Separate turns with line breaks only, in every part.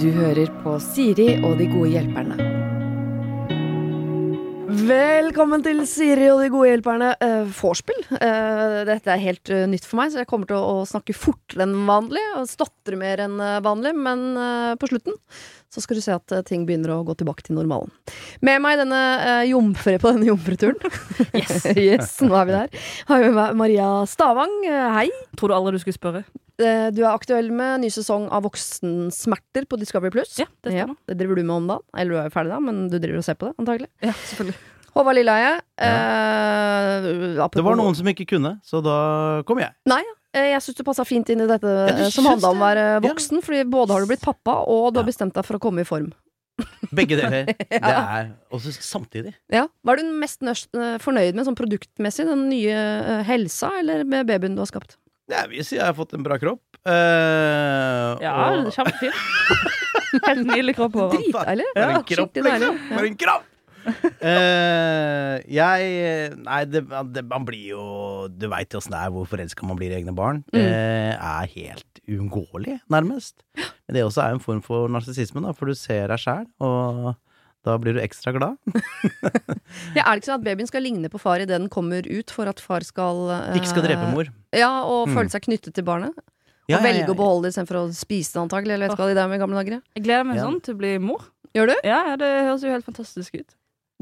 Du hører på Siri og de gode hjelperne.
Velkommen til Siri og de gode hjelperne. Uh, vorspiel. Eh, dette er helt eh, nytt for meg, så jeg kommer til å, å snakke fortere enn vanlig. Og stotre mer enn eh, vanlig, men eh, på slutten så skal du se at eh, ting begynner å gå tilbake til normalen. Med meg denne eh, jomfre på denne jomfreturen.
Yes.
yes, nå er vi der. Har med meg Maria Stavang. Eh, hei.
Tror du aldri du skulle spørre?
Eh, du er aktuell med ny sesong av Voksensmerter på Discovery Pluss.
Ja, det stemmer.
det driver du med om dagen. Eller du er jo ferdig da, men du driver og ser på det, antagelig.
Ja, selvfølgelig.
Håvard Lilleheie. eh, apropos-
Det var noen som ikke kunne, så da kom jeg.
Eh, Jeg syns du passa fint inn i dette
du
eh, som
syns
handla om å være
det?
voksen. Fordi både har du blitt pappa, og du har
Ja.
bestemt deg for å komme i form.
Begge deler. Det er også samtidig.
Ja. Hva er du mest nørs- eh, fornøyd med sånn produktmessig? Den nye eh, helsa, eller med babyen du har skapt?
Jeg vil si jeg har fått en bra kropp. eh,
Ja,
og-
kjempefint. Helt nydelig kropp over.
Dritdeilig!
For
Ja,
en kropp,
skikkelig deilig.
liksom! For en kropp! Eh, jeg Nei, det, det, man blir jo Du veit åssen det er hvor forelska man blir i egne barn.
Mm.
Det er helt uunngåelig, nærmest. Men det også er en form for narsissisme, da, for du ser deg sjæl, og da blir du ekstra glad.
Ja, er det ikke sånn at babyen skal ligne på far idet den kommer ut, for at far skal eh,
Ikke skal drepe mor.
Ja, og
Mm.
føle seg knyttet til barnet.
Ja, ja,
og velge
ja,
å
Ah.
beholde det istedenfor å spise det, antagelig. Eller vet ikke hva de der med i gamle dager.
Jeg gleder meg
Ja.
sånn til å bli mor.
Gjør du?
Ja, ja, det høres jo helt fantastisk ut.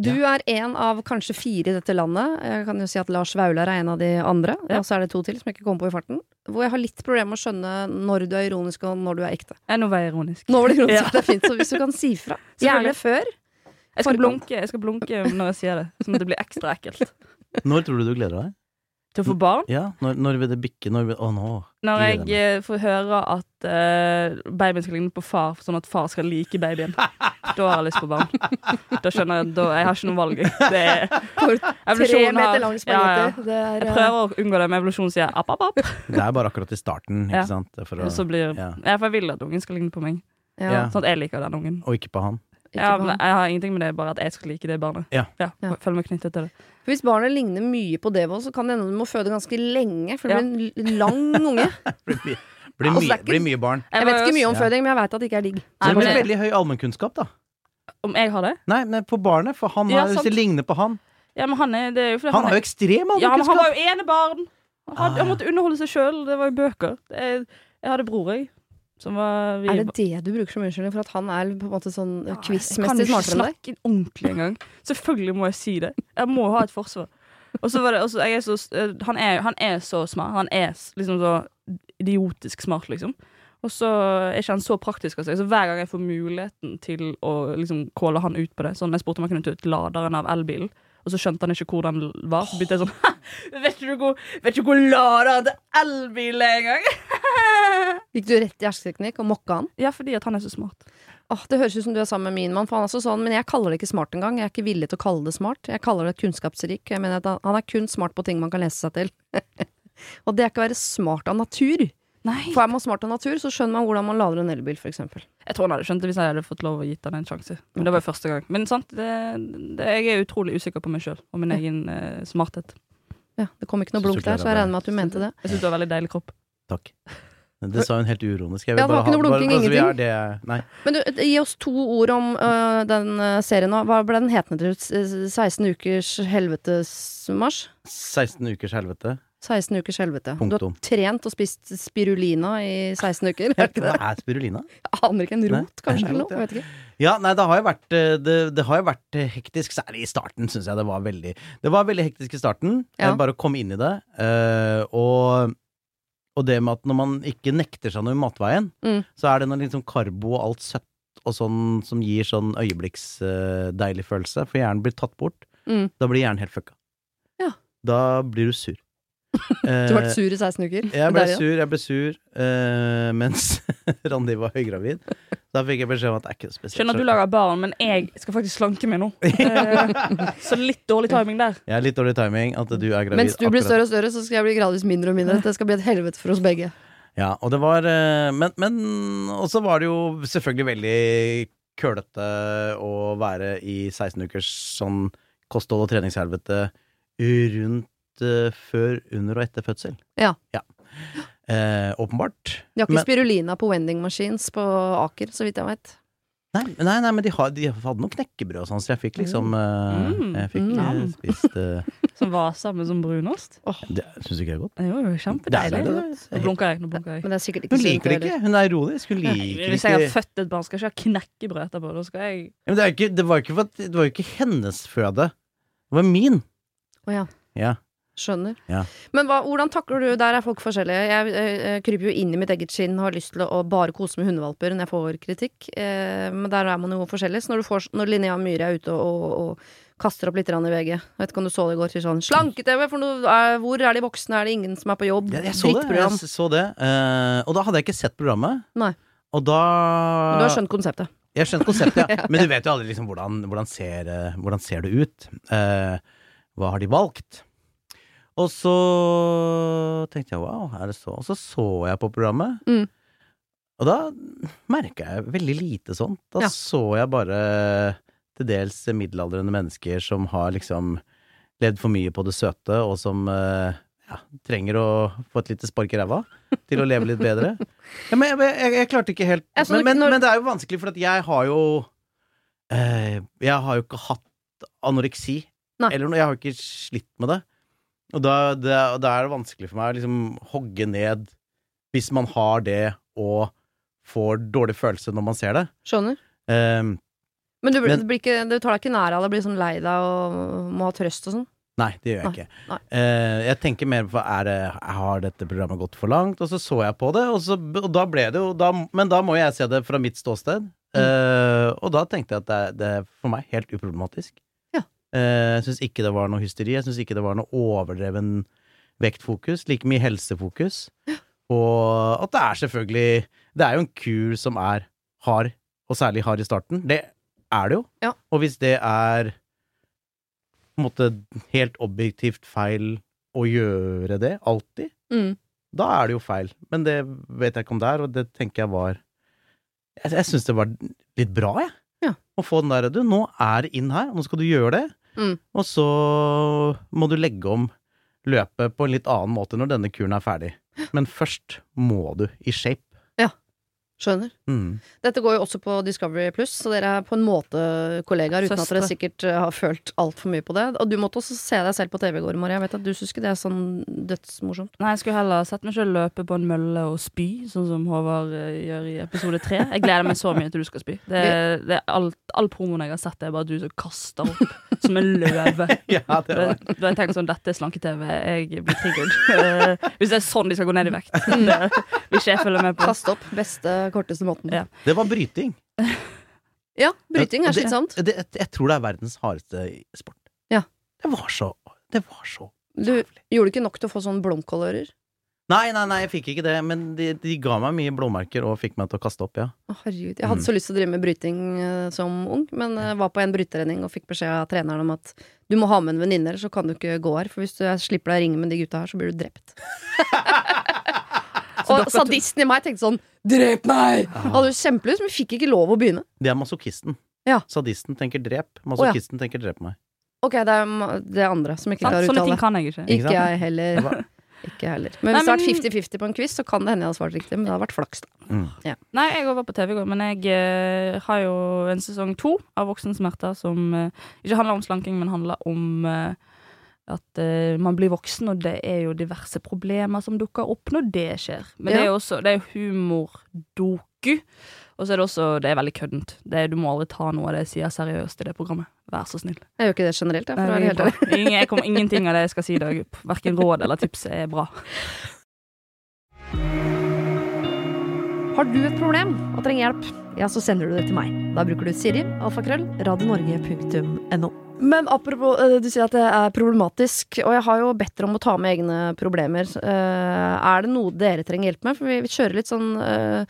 Du er en av kanskje fire i dette landet. Jeg kan jo si at Lars Vaular er en av de andre.
Ja.
Og så er det to til som jeg ikke kom på i farten. Hvor jeg har litt problemer med å skjønne når du er ironisk og når du er ekte.
Jeg nå var jeg ironisk.
Nå var det ironisk,
Ja.
det er fint. Så hvis du kan si fra. Gjerne
Selvfølgelig.
før.
Jeg skal,
Forkant.
blunke, jeg skal blunke når jeg sier det, sånn at det blir ekstra ekkelt.
Når tror du du gleder deg?
Til å få barn.
Ja, når, når vil det bikke? Når vil, å nå
Når
Gleder
jeg eh, får høre at eh, babyen skal ligne på far, sånn at far skal like babyen. Da har jeg lyst på barn. Da skjønner Jeg da, jeg har ikke noe valg. jeg. Det er,
Tre
evolusjonen har-
meter lang spagetti.
Jeg
Det er eh,
prøver å unngå det, men evolusjonen sier app, app, app.
Det er bare akkurat i starten, ikke
Ja.
sant? For å,
Så blir,
Ja.
ja, for jeg vil at ungen skal ligne på meg.
eh, Ja,
Ja.
Sånn at jeg liker den ungen.
og ikke på han.
ikke
Ja,
barn.
men jeg har ingenting med det, bare at jeg skal like det barnet.
Ja.
Ja.
Føler meg knyttet til det.
For Hvis barnet ligner mye på Devo, så kan det hende du må føde ganske lenge. For det
Ja.
blir en l- lang unge.
Blir, mye- blir,
Altså,
mye-
det er ikke-
blir mye barn.
Jeg vet ikke mye om
Ja.
føding, men jeg veit at det ikke er digg.
Nei,
Men det
men-
er veldig høy allmennkunnskap, da.
Om jeg har det?
Nei, men på barnet, for han
Ja,
har, hvis
sant.
det ligner på han
Ja, men han er, det er jo fordi
Han har jo ekstrem
Ja, men han
allmennkunnskap!
var jo enebarn! Han,
Ah,
had- han måtte underholde seg sjøl. Det var jo bøker. Jeg, jeg hadde bror, jeg. Som var vi,
Er det det du bruker som unnskyldning for at han er på en måte sånn eh,
Jeg kan
quizmessig
ikke
smartere enn deg?
snakke ordentlig engang. Selvfølgelig må jeg si det. Jeg må ha et forsvar. Og så var det også, jeg er så, eh, han, er, han er så smart. Han er s- liksom så idiotisk smart, liksom. Og så er ikke han så praktisk av seg. Så hver gang jeg får muligheten til å liksom calle han ut på det Sånn, Jeg spurte om han kunne ta ut laderen av elbilen, og så skjønte han ikke hvor den var. Så begynte jeg sånn «Hæ? Vet ikke du hvor, vet ikke hvor laderen til elbilen er engang?
Gikk du rett i hersketeknikk og mokka han?
Ja, fordi at han er så smart.
Åh, det høres ut som du er sammen med min mann, for han er også sånn, men jeg kaller det ikke smart engang. Jeg er ikke villig til å kalle det smart. Jeg kaller det kunnskapsrik. Jeg mener at han- han er kun smart på ting man kan lese seg til. og det er ikke å være smart av natur.
Nei.
For er man smart av natur, så skjønner man hvordan man lader en elbil, for eksempel.
Jeg tror han hadde skjønt det hvis jeg hadde fått lov å gitt han en sjanse. Men det var jo første gang. Men sant, det, det, jeg er utrolig usikker på meg sjøl og min egen eh, smarthet.
Ja, det kom ikke noe
Synes
blunk
du
der,
klarer
så jeg
det?
regner med at du mente det.
Jeg syns du har veldig deilig kropp.
Takk. Det sa hun helt uironisk. Jeg vil
Ja, det var
bare
ikke noe
ha- bare-
blunking,
bare så vi
ingenting.
er det- Nei.
Men du, gi oss to ord om øh, den øh, serien nå. Hva ble den hetende til? S- s- 16 ukers helvetesmarsj?
16 ukers helvete.
16 ukers helvete. Du
Punktum.
har trent og spist spirulina i 16 uker, er det ikke det?
Hva er spirulina?
Jeg aner ikke. En rot,
Nei,
kanskje?
en
eller noe,
rot, ja.
jeg vet ikke.
Ja, nei, det har jo vært, eh, det, det har jo vært eh, hektisk, særlig i starten, syns jeg det var veldig Det var veldig hektisk i starten, eh,
Ja.
bare å komme inn i det. eh, og, og det med at når man ikke nekter seg noe i matveien,
Mm.
så er det noe liksom karbo og alt søtt og sånn som gir sånn øyeblikksdeilig følelse, for hjernen blir tatt bort.
Mm.
Da blir hjernen helt fucka.
Ja.
Da blir du sur.
Du har vært sur i 16 uker.
Eh, Jeg ble
Der, ja.
sur, jeg ble sur eh, mens Randi var høygravid. Da fikk jeg beskjed om at det er ikke noe spesielt.
Skjønner at du
så-
lager barn, men jeg skal faktisk slanke meg nå. Eh, Så litt dårlig timing der.
Jeg er litt dårlig timing at du er gravid.
Mens du blir
akkurat.
større og større, så skal jeg bli gradvis mindre og mindre. Det skal bli et helvete for oss begge.
Ja, og det var eh, Men, men Og så var det jo selvfølgelig veldig kølete å være i 16 ukers sånn kosthold og treningshelvete rundt eh, før, under og etter fødsel.
Ja.
eh, åpenbart.
De har ikke
Men-
spirulina på vending machines på Aker, så vidt jeg veit.
Nei, nei, nei men de, har, de hadde noe knekkebrød og sånn, så jeg fikk liksom eh,
Mm.
Jeg fikk
Mm.
eh, spist eh,
Som vaser med sånn brunost.
Det syns du ikke er godt?
Det var jo
Deilig,
kjempedeilig.
det.
Nå blunker jeg. nå blunker jeg
Men det er sikkert ikke
Hun
sunt,
liker det ikke. Hun er ironisk. Hun liker
Hvis jeg har
ikke
født et barn, skal jeg ikke ha knekkebrød etterpå. Da skal jeg
Ja, Men det, er ikke, det, var ikke for, at- det var jo ikke hennes føde. Det var min.
Å ja.
Ja.
Skjønner.
Ja.
Men hva, hvordan takler du Der er folk forskjellige. Jeg eh, kryper jo inn i mitt eget skinn og har lyst til å bare kose med hundevalper når jeg får kritikk. Eh, men der er man jo forskjellig. Så når, du får, når Linnea Myhre er ute og, og, og kaster opp litt grann i VG Jeg vet ikke om du så det i går, sier sånn Slanke-TV! For noe, er, hvor er de voksne? Er det ingen som er på jobb?
Jeg, jeg så det. Jeg
Drittprogram.
s- så det. eh, og da hadde jeg ikke sett programmet.
Nei.
Og
Men Du
da
har skjønt konseptet.
Jeg skjønner konseptet, ja. Men du vet jo aldri liksom hvordan, hvordan, ser, eh, hvordan ser det ut. Eh, hva har de valgt? Og så tenkte jeg wow, er det så Og så så jeg på programmet.
Mm.
Og da merka jeg veldig lite sånt. Da
Ja.
så jeg bare til dels middelaldrende mennesker som har liksom levd for mye på det søte, og som eh, ja, trenger å få et lite spark i ræva til å leve litt bedre. Ja, men jeg, jeg, jeg klarte ikke helt
Jeg så
men,
ikke
men,
når-
men det er jo vanskelig, for at jeg har jo eh, Jeg har jo ikke hatt anoreksi.
Nei.
Eller noe. Jeg har jo ikke slitt med det. Og da, det, og da er det vanskelig for meg å liksom hogge ned hvis man har det og får dårlig følelse når man ser det.
Skjønner.
Eh,
Men du, blir-
Men-
du, blir ikke, du tar deg ikke nær av det, blir sånn lei deg og må ha trøst og sånn.
Nei, det gjør jeg
Nei,
ikke.
nei.
Eh, jeg tenker mer på er det, har dette programmet gått for langt, og så så jeg på det, og, så, og da ble det jo da, Men da må jeg se det fra mitt ståsted.
Mm.
Eh, og da tenkte jeg at det, er- det er for meg helt uproblematisk.
Ja.
Eh, jeg syns ikke det var noe hysteri, jeg syns ikke det var noe overdreven vektfokus. Like mye helsefokus. Og at det er selvfølgelig Det er jo en kur som er hard, og særlig hard i starten. Det er det jo.
Ja.
Og hvis det er på en måte helt objektivt feil å gjøre det, alltid,
Mm.
da er det jo feil. Men det vet jeg ikke om det er, og det tenker jeg var Jeg, jeg syns det var litt bra, jeg.
Ja.
Å få den der Du, nå er det inn her, nå skal du gjøre det.
Mm.
Og så må du legge om løpet på en litt annen måte når denne kuren er ferdig. Men først må du i shape.
Skjønner.
Mm.
Dette går jo også på Discovery Pluss, så dere er på en måte kollegaer, uten at dere
Søstre.
sikkert eh, har følt altfor mye på det. Og du måtte også se deg selv på TV i går, Maria. Jeg vet at du syns ikke det er sånn dødsmorsomt.
Nei, jeg skulle heller sett meg selv løpe på en mølle og spy, sånn som Håvard eh, gjør i episode tre. Jeg gleder meg så mye til du skal spy. Det, det er alt, all pornoen jeg har sett, det er bare du som kaster opp som en løve.
Ja, det
Da
var
da har jeg tenkt sånn, dette er slanke-TV, jeg blir triggered. Eh, Hvis det er sånn de skal gå ned i vekt. Det vil ikke jeg følge med på.
Kaste opp. Beste, korteste måten. Ja,
Ja.
Det var bryting.
bryting
Og
er
det-
slitsomt.
Det, jeg, jeg tror det er verdens hardeste sport.
Ja.
Det var så Det var så
Du gjorde ikke nok til å få sånn blomkålører.
Nei, nei, nei, jeg fikk ikke det, men de, de ga meg mye blåmerker og fikk meg til å kaste opp, ja.
Å, herregud. Jeg
Mm.
hadde så lyst til å drive med bryting eh, som ung, men eh, var på en bryterenning og fikk beskjed av treneren om at du må ha med en venninne, ellers så kan du ikke gå her. For hvis du jeg slipper deg å ringe med de gutta her, så blir du drept. og sadisten i meg tenkte sånn Drep meg!
Ah.
Jeg hadde jo kjempelyst, men fikk ikke lov å begynne.
Det er masochisten.
Ja.
Sadisten tenker drep, masochisten tenker drep meg.
Ok, det er ma- det andre som ikke
Sant?
klarer å
Sånne
uttale.
ting kan jeg ikke.
Ikke
Ikke
sant?
jeg heller.
Hva?
Ikke jeg heller. Men
Nei,
hvis det hadde
men-
vært 50-50 på en quiz, så kan det hende jeg hadde svart riktig, men det hadde vært flaks, da.
Nei, jeg var på TV i går, men jeg eh, har jo en sesong to av Voksensmerter som eh, ikke handler om slanking, men handler om eh, at eh, man blir voksen, og det er jo diverse problemer som dukker opp når det skjer. Men det er jo også det er jo humordoku, og så er det også Det er veldig køddent. Det er- Du må aldri ta noe av det jeg sier seriøst i det programmet. Vær så snill.
Jeg gjør ikke det generelt, jeg, for å være helt ærlig.
Ingen- jeg kommer, ingenting av det jeg skal si i dag, verken råd eller tips, er bra.
Har du et problem og trenger hjelp, ja, så sender du det til meg. Da bruker du Siri, alfakrøll, radionorge.no. Men apropos, eh, du sier at det er problematisk, og jeg har jo bedt dere om å ta med egne problemer. Eh, Er det noe dere trenger hjelp med? For vi vi kjører litt sånn eh,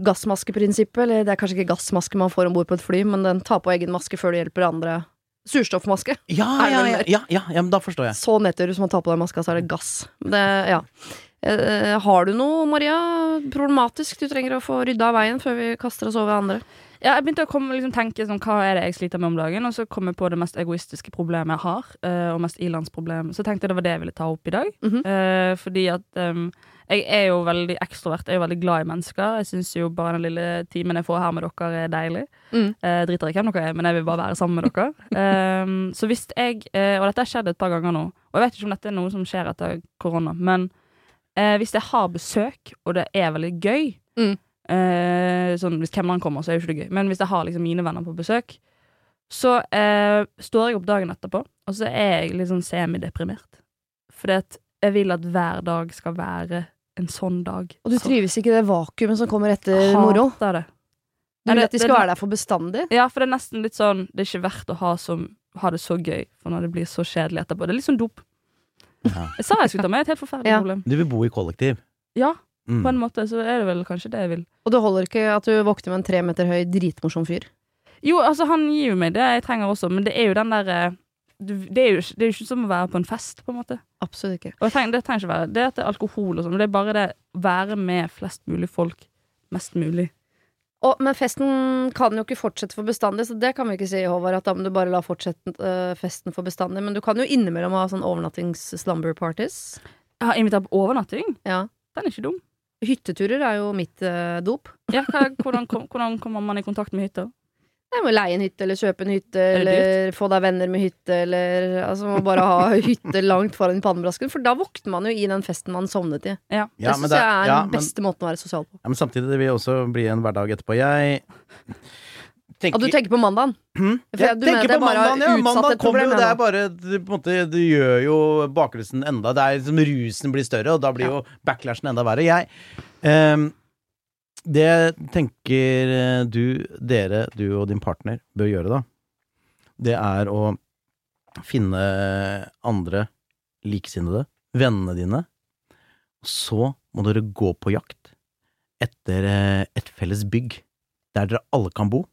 gassmaskeprinsippet, eller det er kanskje ikke gassmaske man får om bord på et fly, men den tar på egen maske før du hjelper andre. Surstoffmaske.
Ja,
Er det
ja,
noe
ja,
mer?
ja, ja, ja, men da forstår jeg.
Så nedtur som å ta på deg maska, så er det gass. Det, ja. Eh, har du noe, Maria, problematisk du trenger å få rydda av veien før vi kaster oss over andre?
Ja, jeg begynte å komme, liksom, tenke sånn, hva er det jeg sliter med om dagen, og så kom jeg på det mest egoistiske problemet jeg har, eh, og mest ilandsproblem. Så tenkte jeg det var det jeg ville ta opp i dag.
Mhm.
Eh, fordi at em, Jeg er jo veldig ekstrovert. Jeg er jo veldig glad i mennesker. Jeg syns jo bare den lille timen jeg får her med dere, er deilig.
Mm.
Eh, driter i hvem dere er, men jeg vil bare være sammen med dere. Ehm, så hvis jeg eh, Og dette har skjedd et par ganger nå, og jeg vet ikke om dette er noe som skjer etter korona, men eh, hvis jeg har besøk, og det er veldig gøy
Mm.
eh, sånn, Hvis kemneren kommer, så er jo ikke det gøy, men hvis jeg har liksom mine venner på besøk, så eh, står jeg opp dagen etterpå, og så er jeg litt sånn semideprimert. Fordi at jeg vil at hver dag skal være en sånn dag.
Og du trives ikke i det vakuumet som kommer etter
Hater
moro?
det.
Du vil
Nei, det-
at de
det-
skal være der for bestandig?
Ja, for det er nesten litt sånn Det er ikke verdt å ha, som, ha det så gøy For når det blir så kjedelig etterpå Det er litt sånn dop
Ja.
Jeg sa jeg skulle ta med et helt forferdelig
Ja.
problem
Du vil bo i kollektiv.
Ja,
Mm.
på en måte så er det vel kanskje det jeg vil
Og det holder ikke at du våkner med en tre meter høy dritmorsom fyr?
Jo, altså han gir jo meg det jeg trenger også Men det er jo den der eh, du- Det er jo, ikke- det er jo ikke som å være på en fest på en måte
Absolutt ikke.
Og jeg trenger, det trenger ikke være Det er at det er alkohol og sånn men Det er bare det å være med flest mulig folk Mest mulig
Og, men festen kan jo ikke fortsette for bestandig, så det kan vi ikke si, Håvard. At da må du bare la fortsette øh, festen for bestandig. Men du kan jo innimellom ha sånn overnattings-slumber parties.
Jeg har invitert på overnatting
Ja.
Den er ikke dum
Hytteturer er jo mitt øh, dop.
ja, hva, hvordan, kom- hvordan kommer man i kontakt med hytter?
Jeg må leie en hytte, eller kjøpe en hytte,
Er det
eller få deg venner med hytte, eller altså må bare ha hytte langt foran pannebrasken. For da våkner man jo i den festen man sovnet i.
Ja,
det
men
syns jeg er
ja,
den
men-
beste måten å være sosial på.
Ja, men samtidig, det vil også bli en hverdag etterpå. Jeg
Og du tenker på mandagen.
Hmm?
For
Jeg
du mener
tenker
det
på
bare har
mandagen, ja.
utsatt
Mandag
et
kommer jo,
problem,
det
ja,
er bare du, på en måte, Det gjør jo bakelsen enda Det er liksom rusen blir større, og da blir jo backlashen enda verre. Jeg ehm, Det tenker eh, du, dere, du og din partner bør gjøre, da, det er å finne andre likesinnede, vennene dine, så må dere gå på jakt etter eh, et felles bygg der dere alle kan bo.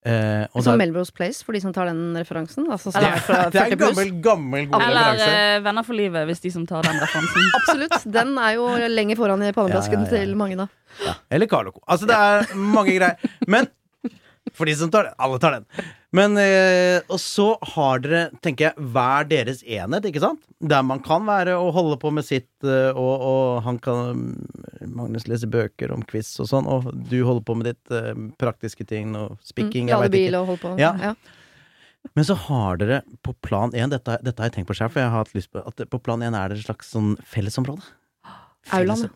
Eh, og
Som liksom
der-
Melrose Place, for de som tar den referansen. Altså, som
det,
er fra
er- det er
40
en
pluss.
gammel, gammel god
Eller
referanse.
eh, venner for livet Hvis de som tar den referansen
Absolutt. Den er jo lenger foran i pannebrasken
Ja, ja, ja.
til mange, da.
Ja. Eller Carlo Co. Altså, det er mange greier. Men for de som tar den. Alle tar den. Men, eh, og så har dere, tenker jeg, hver deres enhet, ikke sant? Der man kan være og holde på med sitt, eh, og, og han kan Magnus leser bøker om quiz og sånn, og du holder på med ditt eh, praktiske ting og spikking,
Ja,
jeg
det
veit ikke.
bil Mm, og holdt på.
Ja.
Ja.
Men så har dere på plan 1 dette, dette har jeg tenkt på selv, for jeg har hatt lyst på at det- på plan 1 er det et slags sånn fellesområde.
Aulaen.
Felles-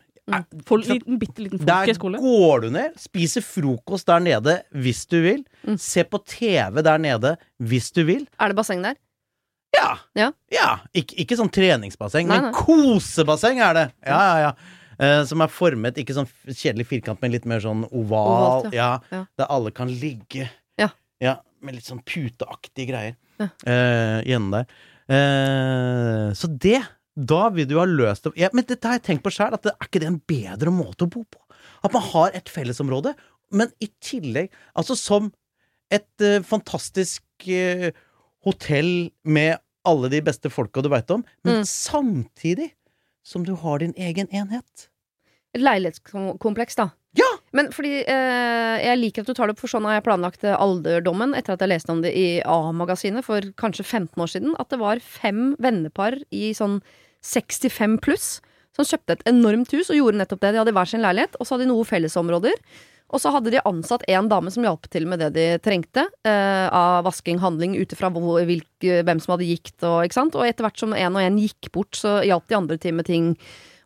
Fol liten, bitte liten
Der
folkeskole.
går du ned, spiser frokost der nede hvis du vil.
Mm.
Se på TV der nede hvis du vil.
Er det basseng der?
Ja!
Ja.
Ikke, ikke sånn treningsbasseng,
Nei, nei.
men kosebasseng er det! Ja, ja, ja. Eh, som er formet, ikke sånn f- kjedelig firkant, men litt mer sånn oval.
Ovalt,
ja.
Ja.
Der alle kan ligge.
Ja.
med litt sånn puteaktige greier
Ja.
eh, igjen der. Eh, så det Da vil du ha løst det. Ja, men dette har jeg tenkt på sjøl, at det, er ikke det en bedre måte å bo på? At man har et fellesområde, men i tillegg Altså som et eh, fantastisk eh, hotell med alle de beste folka du veit om, men
Mm.
samtidig som du har din egen enhet.
Et leilighetskompleks, da.
Ja!
Men fordi eh, jeg liker at du tar det opp, for sånn har jeg planlagt eh, alderdommen etter at jeg leste om det i A-magasinet for kanskje 15 år siden. At det var fem vennepar i sånn 65 pluss som kjøpte et enormt hus og gjorde nettopp det. De hadde hver sin leilighet, og så hadde de noen fellesområder. Og så hadde de ansatt en dame som hjalp til med det de trengte. Eh, av vasking, handling, ut ifra hvor- hvilke- hvem som hadde gikt og ikke sant. Og etter hvert som en og en gikk bort, så hjalp de andre til med ting.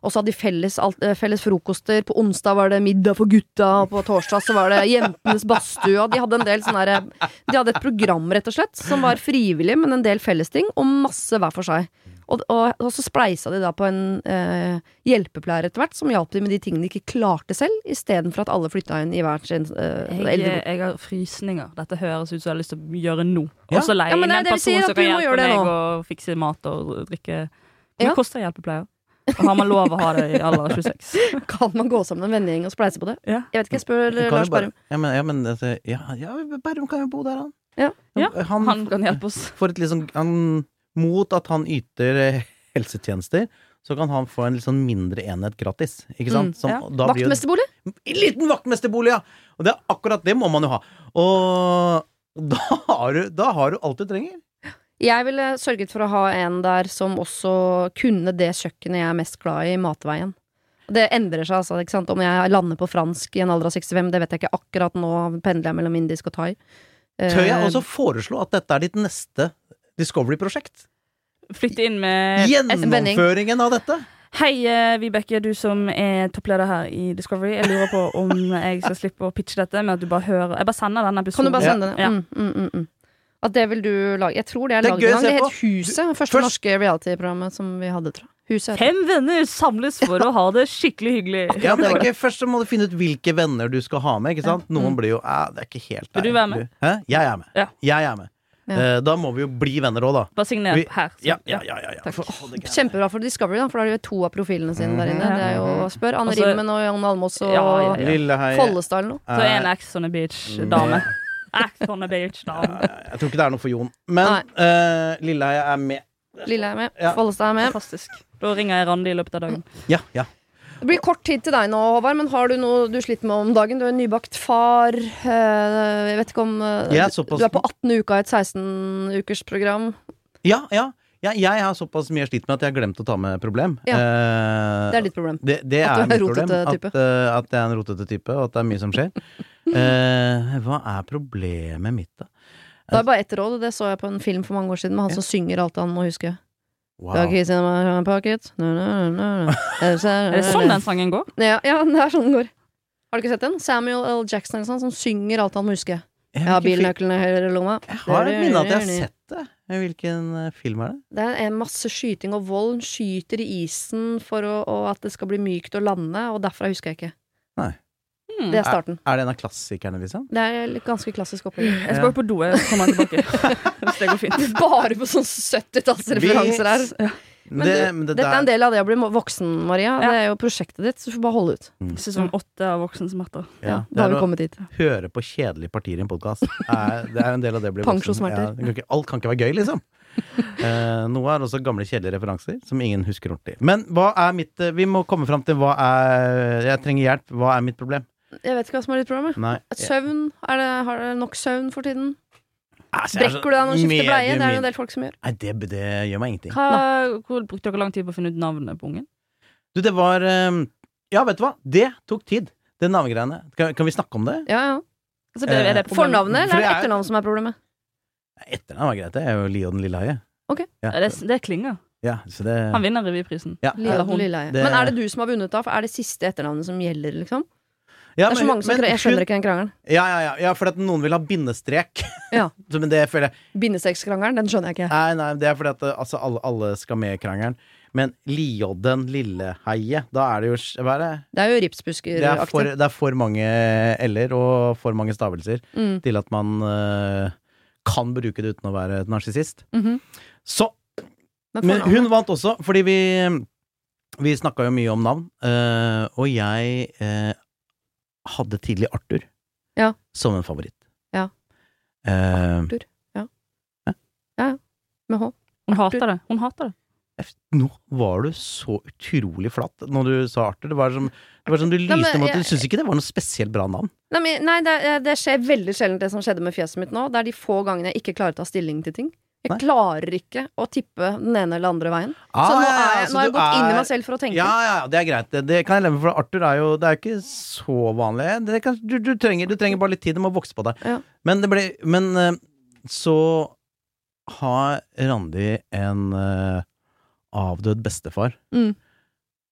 Og så hadde de felles, alt, eh, felles frokoster. På onsdag var det middag for gutta, og på torsdag så var det jentenes badstue. og De hadde en del sånne her, eh, De hadde et program, rett og slett, som var frivillig, men en del fellesting, og masse hver for seg. Og, og, og så spleisa de da på en eh, hjelpepleier etter hvert, som hjalp dem med de tingene de ikke klarte selv, istedenfor at alle flytta inn i hver sin eh,
Jeg,
eldrebo.
jeg har frysninger. Dette høres ut som jeg har lyst til å gjøre nå.
Ja.
Og så
Ja,
leie inn
men det er
en
det vi
person
sier,
som
at vi
kan
må gjøre
hjelpe
det
meg
nå.
å fikse mat og drikke. Hvor
Ja.
mye koster en hjelpepleier? Og har man lov å ha det i alder 26?
Kan man gå sammen med en vennegjeng og spleise på det?
Ja.
Jeg vet ikke, jeg spør eh,
Kan
Lars
jo bare-
Berrum.
Ja, men, ja, men altså, ja, ja, Berrum kan jo bo der, han.
Ja.
Ja,
Han,
Han kan hjelpe oss.
får et litt sånn han, Mot at han yter eh, helsetjenester, så kan han få en litt sånn mindre enhet gratis. Ikke sant?
Mm,
Som,
ja.
da blir jo-
Vaktmesterbolig?
En liten vaktmesterbolig, ja! Og det er akkurat det må man jo ha. Og da har du, da har du alt du trenger.
Jeg ville sørget for å ha en der som også kunne det kjøkkenet jeg er mest glad i, matveien. Det endrer seg, altså. Ikke sant? Om jeg lander på fransk i en alder av 65, det vet jeg ikke akkurat nå. Pendler jeg mellom indisk og thai. Eh,
Tør jeg også foreslå at dette er ditt neste Discovery-prosjekt?
Flytte inn
Eh,
med
Gjennomføringen av dette!
Hei, eh, Vibeke, du som er toppleder her i Discovery. Jeg lurer på om jeg skal slippe å pitche dette med at du bare hører Jeg bare sender den
Kan
episoden.
du bare
Ja.
sende det? Mm, mm, mm, mm. At det vil du lage Jeg tror det er
Det er
laget
gøy å
en gang.
se
Det het
på.
Huset. Første
først-
norske reality-programmet som vi hadde, tror jeg. Huset. heter det.
Fem venner samles for å ha det skikkelig hyggelig.
Ja, men det er ikke, først så må du finne ut hvilke venner du skal ha med. Ikke sant? Noen blir jo eh, Det er ikke helt
Vil du
deg.
være med?
Hæ? Jeg er med.
Ja.
Jeg er med.
Ja.
Eh, da må vi jo bli venner òg, da.
Bare signer
Vi-
her.
Ja, ja, ja. ja, ja.
Takk. Kjempebra for Discovery, da, for da har de jo to av profilene sine der inne.
Mhm.
Det er jo Spør Anne
Altså-
Rimmen og Jan Almås og
Ja, ja, ja.
Lille hei.
Follestad eller noe.
Så er en
Eh,
Ex on a Beach-dame. Ex on a Beach-dame.
jeg tror ikke det er noe for Jon. Men eh, Lille hei er med.
Lille er med.
Ja.
Follestad er med.
Fantastisk. Da ringer jeg Randi i løpet av dagen.
Ja, ja.
Det blir kort tid til deg nå, Håvard, men har du noe du sliter med om dagen? Du er nybakt far. eh, Jeg vet ikke om eh,
Jeg er
du-
såpass-
Du er på 18 uka i et 16-ukersprogram.
Ja, ja. Jeg, jeg har såpass mye slitt med at jeg har glemt å ta med problem.
Ja.
Eh,
Det er ditt problem.
Det, det
At du
er
er
mitt
rotete
problem. At,
type.
eh, at jeg er en rotete type, og at det er mye som skjer. Eh, hva er problemet mitt, da?
Det er bare ett råd, og det så jeg på en film for mange år siden med han som synger alt han må huske.
Wow.
Wow. Er det
Er det sånn den sangen går?
Ja, ja, det er sånn den går. Har du ikke sett den? Samuel L. Jackson eller sånn, som synger alt han må huske.
Jeg,
Jeg har
hvilken fil-
bilnøklene i høyre lomma.
jeg har et minne av at jeg har sett det. Men Hvilken eh, film er det?
Det er masse skyting og vold. Hun Skyter i isen for å, og at det skal bli mykt å lande, og derfra husker jeg ikke.
Mm.
Hmm.
Det er starten.
Er det en av klassikerne, liksom?
Det er litt ganske klassisk opplegg.
Jeg skal gå på do, jeg kommer tilbake. Hvis det går fint.
Bare på sånn 70-tallsreferanser her. Men
det,
du,
men det
Dette er en
der,
del av det å bli mo- voksen, Maria.
Ja.
Det er jo prosjektet ditt, så du får bare holde ut.
Sesong åtte av Voksensmerter.
ja,
Ja,
det
da har
er
vi
å
kommet dit.
høre på kjedelige partier i en podkast. Det er en del av det å bli voksen.
Pensjonsmerter.
Ja, det kan ikke, alt kan ikke være gøy, liksom. Eh, noe er også gamle, kjedelige referanser som ingen husker ordentlig. Men hva er mitt eh, Vi må komme fram til hva er Jeg trenger hjelp. Hva er mitt problem?
Jeg vet ikke hva som er ditt problem. jeg.
Nei.
Søvn. Er det, har dere nok søvn for tiden?
Altså, jeg er så
Brekker du deg når du skifter bleie? Det er det
medium-
en del folk som gjør.
Nei, det, det gjør meg ingenting.
Hva, hvor brukte dere lang tid på å finne ut navnet på ungen?
Du, det var eh, Ja, vet du hva? Det tok tid. Det navngreiene. Kan, kan vi snakke om det?
Ja, ja.
Altså, det,
Eh,
er det problem-
Fornavnet
For
eller er det
jeg-
etternavnet som er problemet?
Etternavn var greit. Det er jo Lio den lille haie.
Ok.
Ja,
Det, det klinger.
ja, så det
Han vinner revyprisen.
ja.
Lilla,
hun.
lilla, jeg.
Det-
Men er det du som har vunnet, da? For er det siste etternavnet som gjelder, liksom?
Ja,
Det er så mange som kre- Jeg skjønner ikke den krangelen.
Ja, ja, ja, ja, for at noen vil ha bindestrek.
Ja.
Så, Men det føler jeg
Bindestekskrangelen, den skjønner jeg ikke.
Nei, nei, det er fordi at eh, altså, alle, alle skal med i krangelen. Men Liodden lille haie, da er det jo s- Hva er det?
Det er jo
Det er, for,
ripsbuskeraktig.
det er for mange l-er og for mange stavelser
Mm.
til at man eh, kan bruke det uten å være narsissist.
Mhm.
Så
Men
Men
fornavnet-
hun vant også, fordi vi Vi snakka jo mye om navn, eh, og jeg eh, hadde tidlig Arthur
Ja.
som en favoritt.
Ja.
Eh,
Med H.
Hun hater det. Hun hater det.
nå var du så utrolig flatt når du sa Arthur. Det var som, det var som du
men
lyste om at du
jeg-
syntes ikke det var noe spesielt bra navn.
Nei, men, nei det, eh, det skjer veldig sjelden det som skjedde med fjeset mitt nå. Det er de få gangene jeg ikke klarer å ta stilling til ting. Jeg
Nei.
klarer ikke å tippe den ene eller andre veien.
Ah,
så nå,
ja, ja,
er
ja,
jeg,
så
nå har jeg
du
gått inn i
er-
meg selv for å tenke.
Ja, ja, det er greit. Det, det kan jeg leve med, for Arthur er jo Det er jo ikke så vanlig. Det er kanskje- du, du, trenger, du trenger bare litt tid. Det må vokse på deg.
Ja.
Men, det ble, men eh, så har Randi en eh, avdød bestefar
Mm.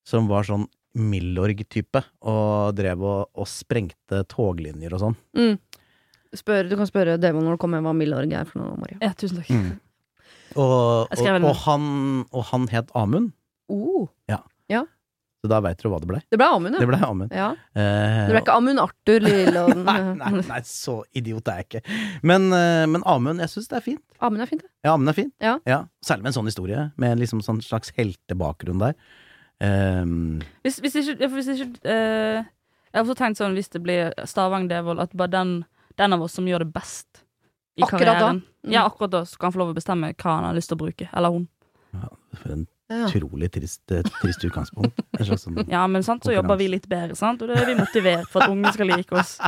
som var sånn Milorg-type, og drev og, og sprengte toglinjer og sånn.
Mm. Spør, du kan spørre Devon når du kommer hjem hva Milorg er for noe, Maria.
Ja, tusen takk.
Mm. Og,
Jeg
og,
skrev en-
og, han, og han het Amund,
Oh.
så da veit du hva det blei.
Det ble Amund,
Det
ja.
blei Amund.
ja.
Eh,
Det ble ikke Amund Arthur Lillehovden.
Nei, nei, nei, så idiot er jeg ikke. Men, eh, men Amund, jeg syns det er fint.
Amund er fint, det.
Ja, Amund er fint.
Ja.
Særlig med en sånn historie, med liksom sånn slags heltebakgrunn der. Ehm,
Hvis, hvis ikke, ja, for hvis ikke eh, Jeg har også tenkt sånn hvis det blir Stavang-Devold, at bare den, den av oss som gjør det best i
Akkurat da.
karrieren
Mm.
Ja, akkurat da skal han få lov å bestemme hva han har lyst til å bruke. Eller hun.
for en
Ja.
utrolig trist, eh, trist utgangspunkt. En slags sånn
Ja, men sant, så
Konkurranse.
jobber vi litt bedre, sant? og da er vi motivert for at ungen skal like oss.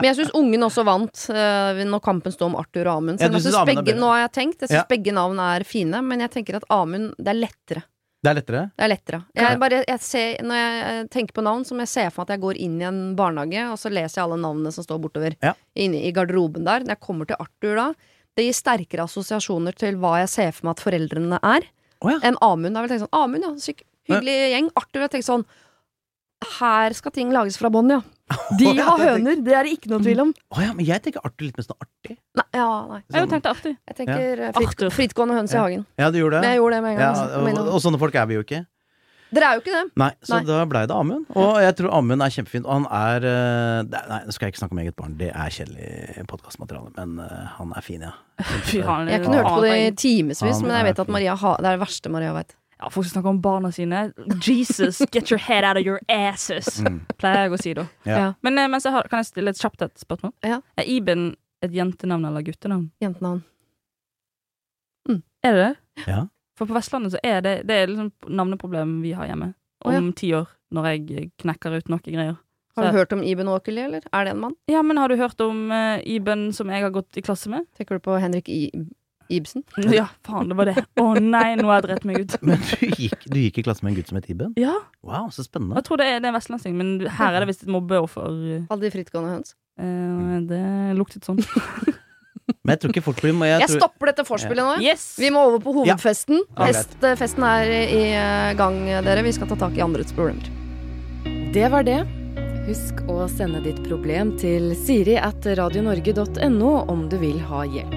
Men jeg syns ungen også vant eh, når kampen sto om Arthur og Amund.
Ja,
Selv om jeg
du synes
synes
Amund er
begge,
bedre.
nå har jeg tenkt, jeg syns
Ja.
begge navn er fine, men jeg tenker at Amund, det er lettere.
Det er lettere?
Det er lettere. Jeg bare, jeg ser, når jeg eh, tenker på navn, så må jeg se for meg at jeg går inn i en barnehage, og så leser jeg alle navnene som står bortover
Ja.
inne i garderoben der. Når jeg kommer til Arthur da, det gir sterkere assosiasjoner til hva jeg ser for meg at foreldrene er,
Å ja.
enn Amund. Jeg vil tenke sånn, Amund, ja, syk, hyggelig gjeng. Arthur, jeg tenker sånn, her skal ting lages fra bånd, ja. De
Å ja,
har
det Mm. tenk-
høner, det er det ikke noe tvil om.
Å ja, men jeg tenker Arthur litt mer sånn artig.
Nei, ja, nei.
Jeg har jo tenkt det artig.
Jeg tenker eh, fritt,
Arthur.
frittgående høns i
Ah. Ja.
hagen.
Ja, du gjorde
Men
det?
jeg gjorde det med en
Ja,
gang. altså, med en
og,
gang.
og sånne folk er vi jo ikke.
Dere er jo ikke det.
Nei, så
Nei.
da blei det Amund. Og jeg tror Amund er kjempefin. Og han er eh, det- Nei, nå skal jeg ikke snakke om eget barn, det er kjedelig podkastmateriale, men eh, han er fin, ja.
Fy faen.
Jeg kunne hørt på det i timevis,
Han
men jeg
er
vet at
fin.
Maria har, det er det verste Maria vet.
Ja, folk som snakker om barna sine. Jesus, get your head out of your
Mm.
asses, pleier jeg å si da.
Ja.
Ja.
Men eh, mens jeg har, kan jeg stille et kjapt et spørsmål?
Ja.
Er Iben et jentenavn eller guttenavn?
Jentenavn.
Er det det?
Ja.
For på Vestlandet så er det, det er liksom navneproblemet vi har hjemme.
Å, ja.
Om ti år, når jeg knekker ut noe greier.
Har du
Så-
hørt om Iben Åkerli, eller? Er det en mann?
Ja, men har du hørt om eh, Iben som jeg har gått i klasse med?
Tenker du på Henrik I Ibsen?
Ja, faen, det var det. Å nei, nå har jeg drept meg ut.
Men du gikk, du gikk i klasse med en gutt som het Iben?
Ja,
Wow, så
og
spennende.
jeg tror det er, det er en vestlandsting, men her er det visst et mobbeoffer.
Alle de frittgående høns?
Eh,
Mm.
det luktet sånn.
Men jeg tror ikke folk blir med. Jeg
Jeg
tror,
stopper dette vorspielet nå. jeg.
Yes!
Vi må over på hovedfesten.
Ja, greit.
Fest, festen er i eh, gang, dere. Vi skal ta tak i andres problemer.
Det var det. Husk å sende ditt problem til siri at radionorge.no om du vil ha hjelp.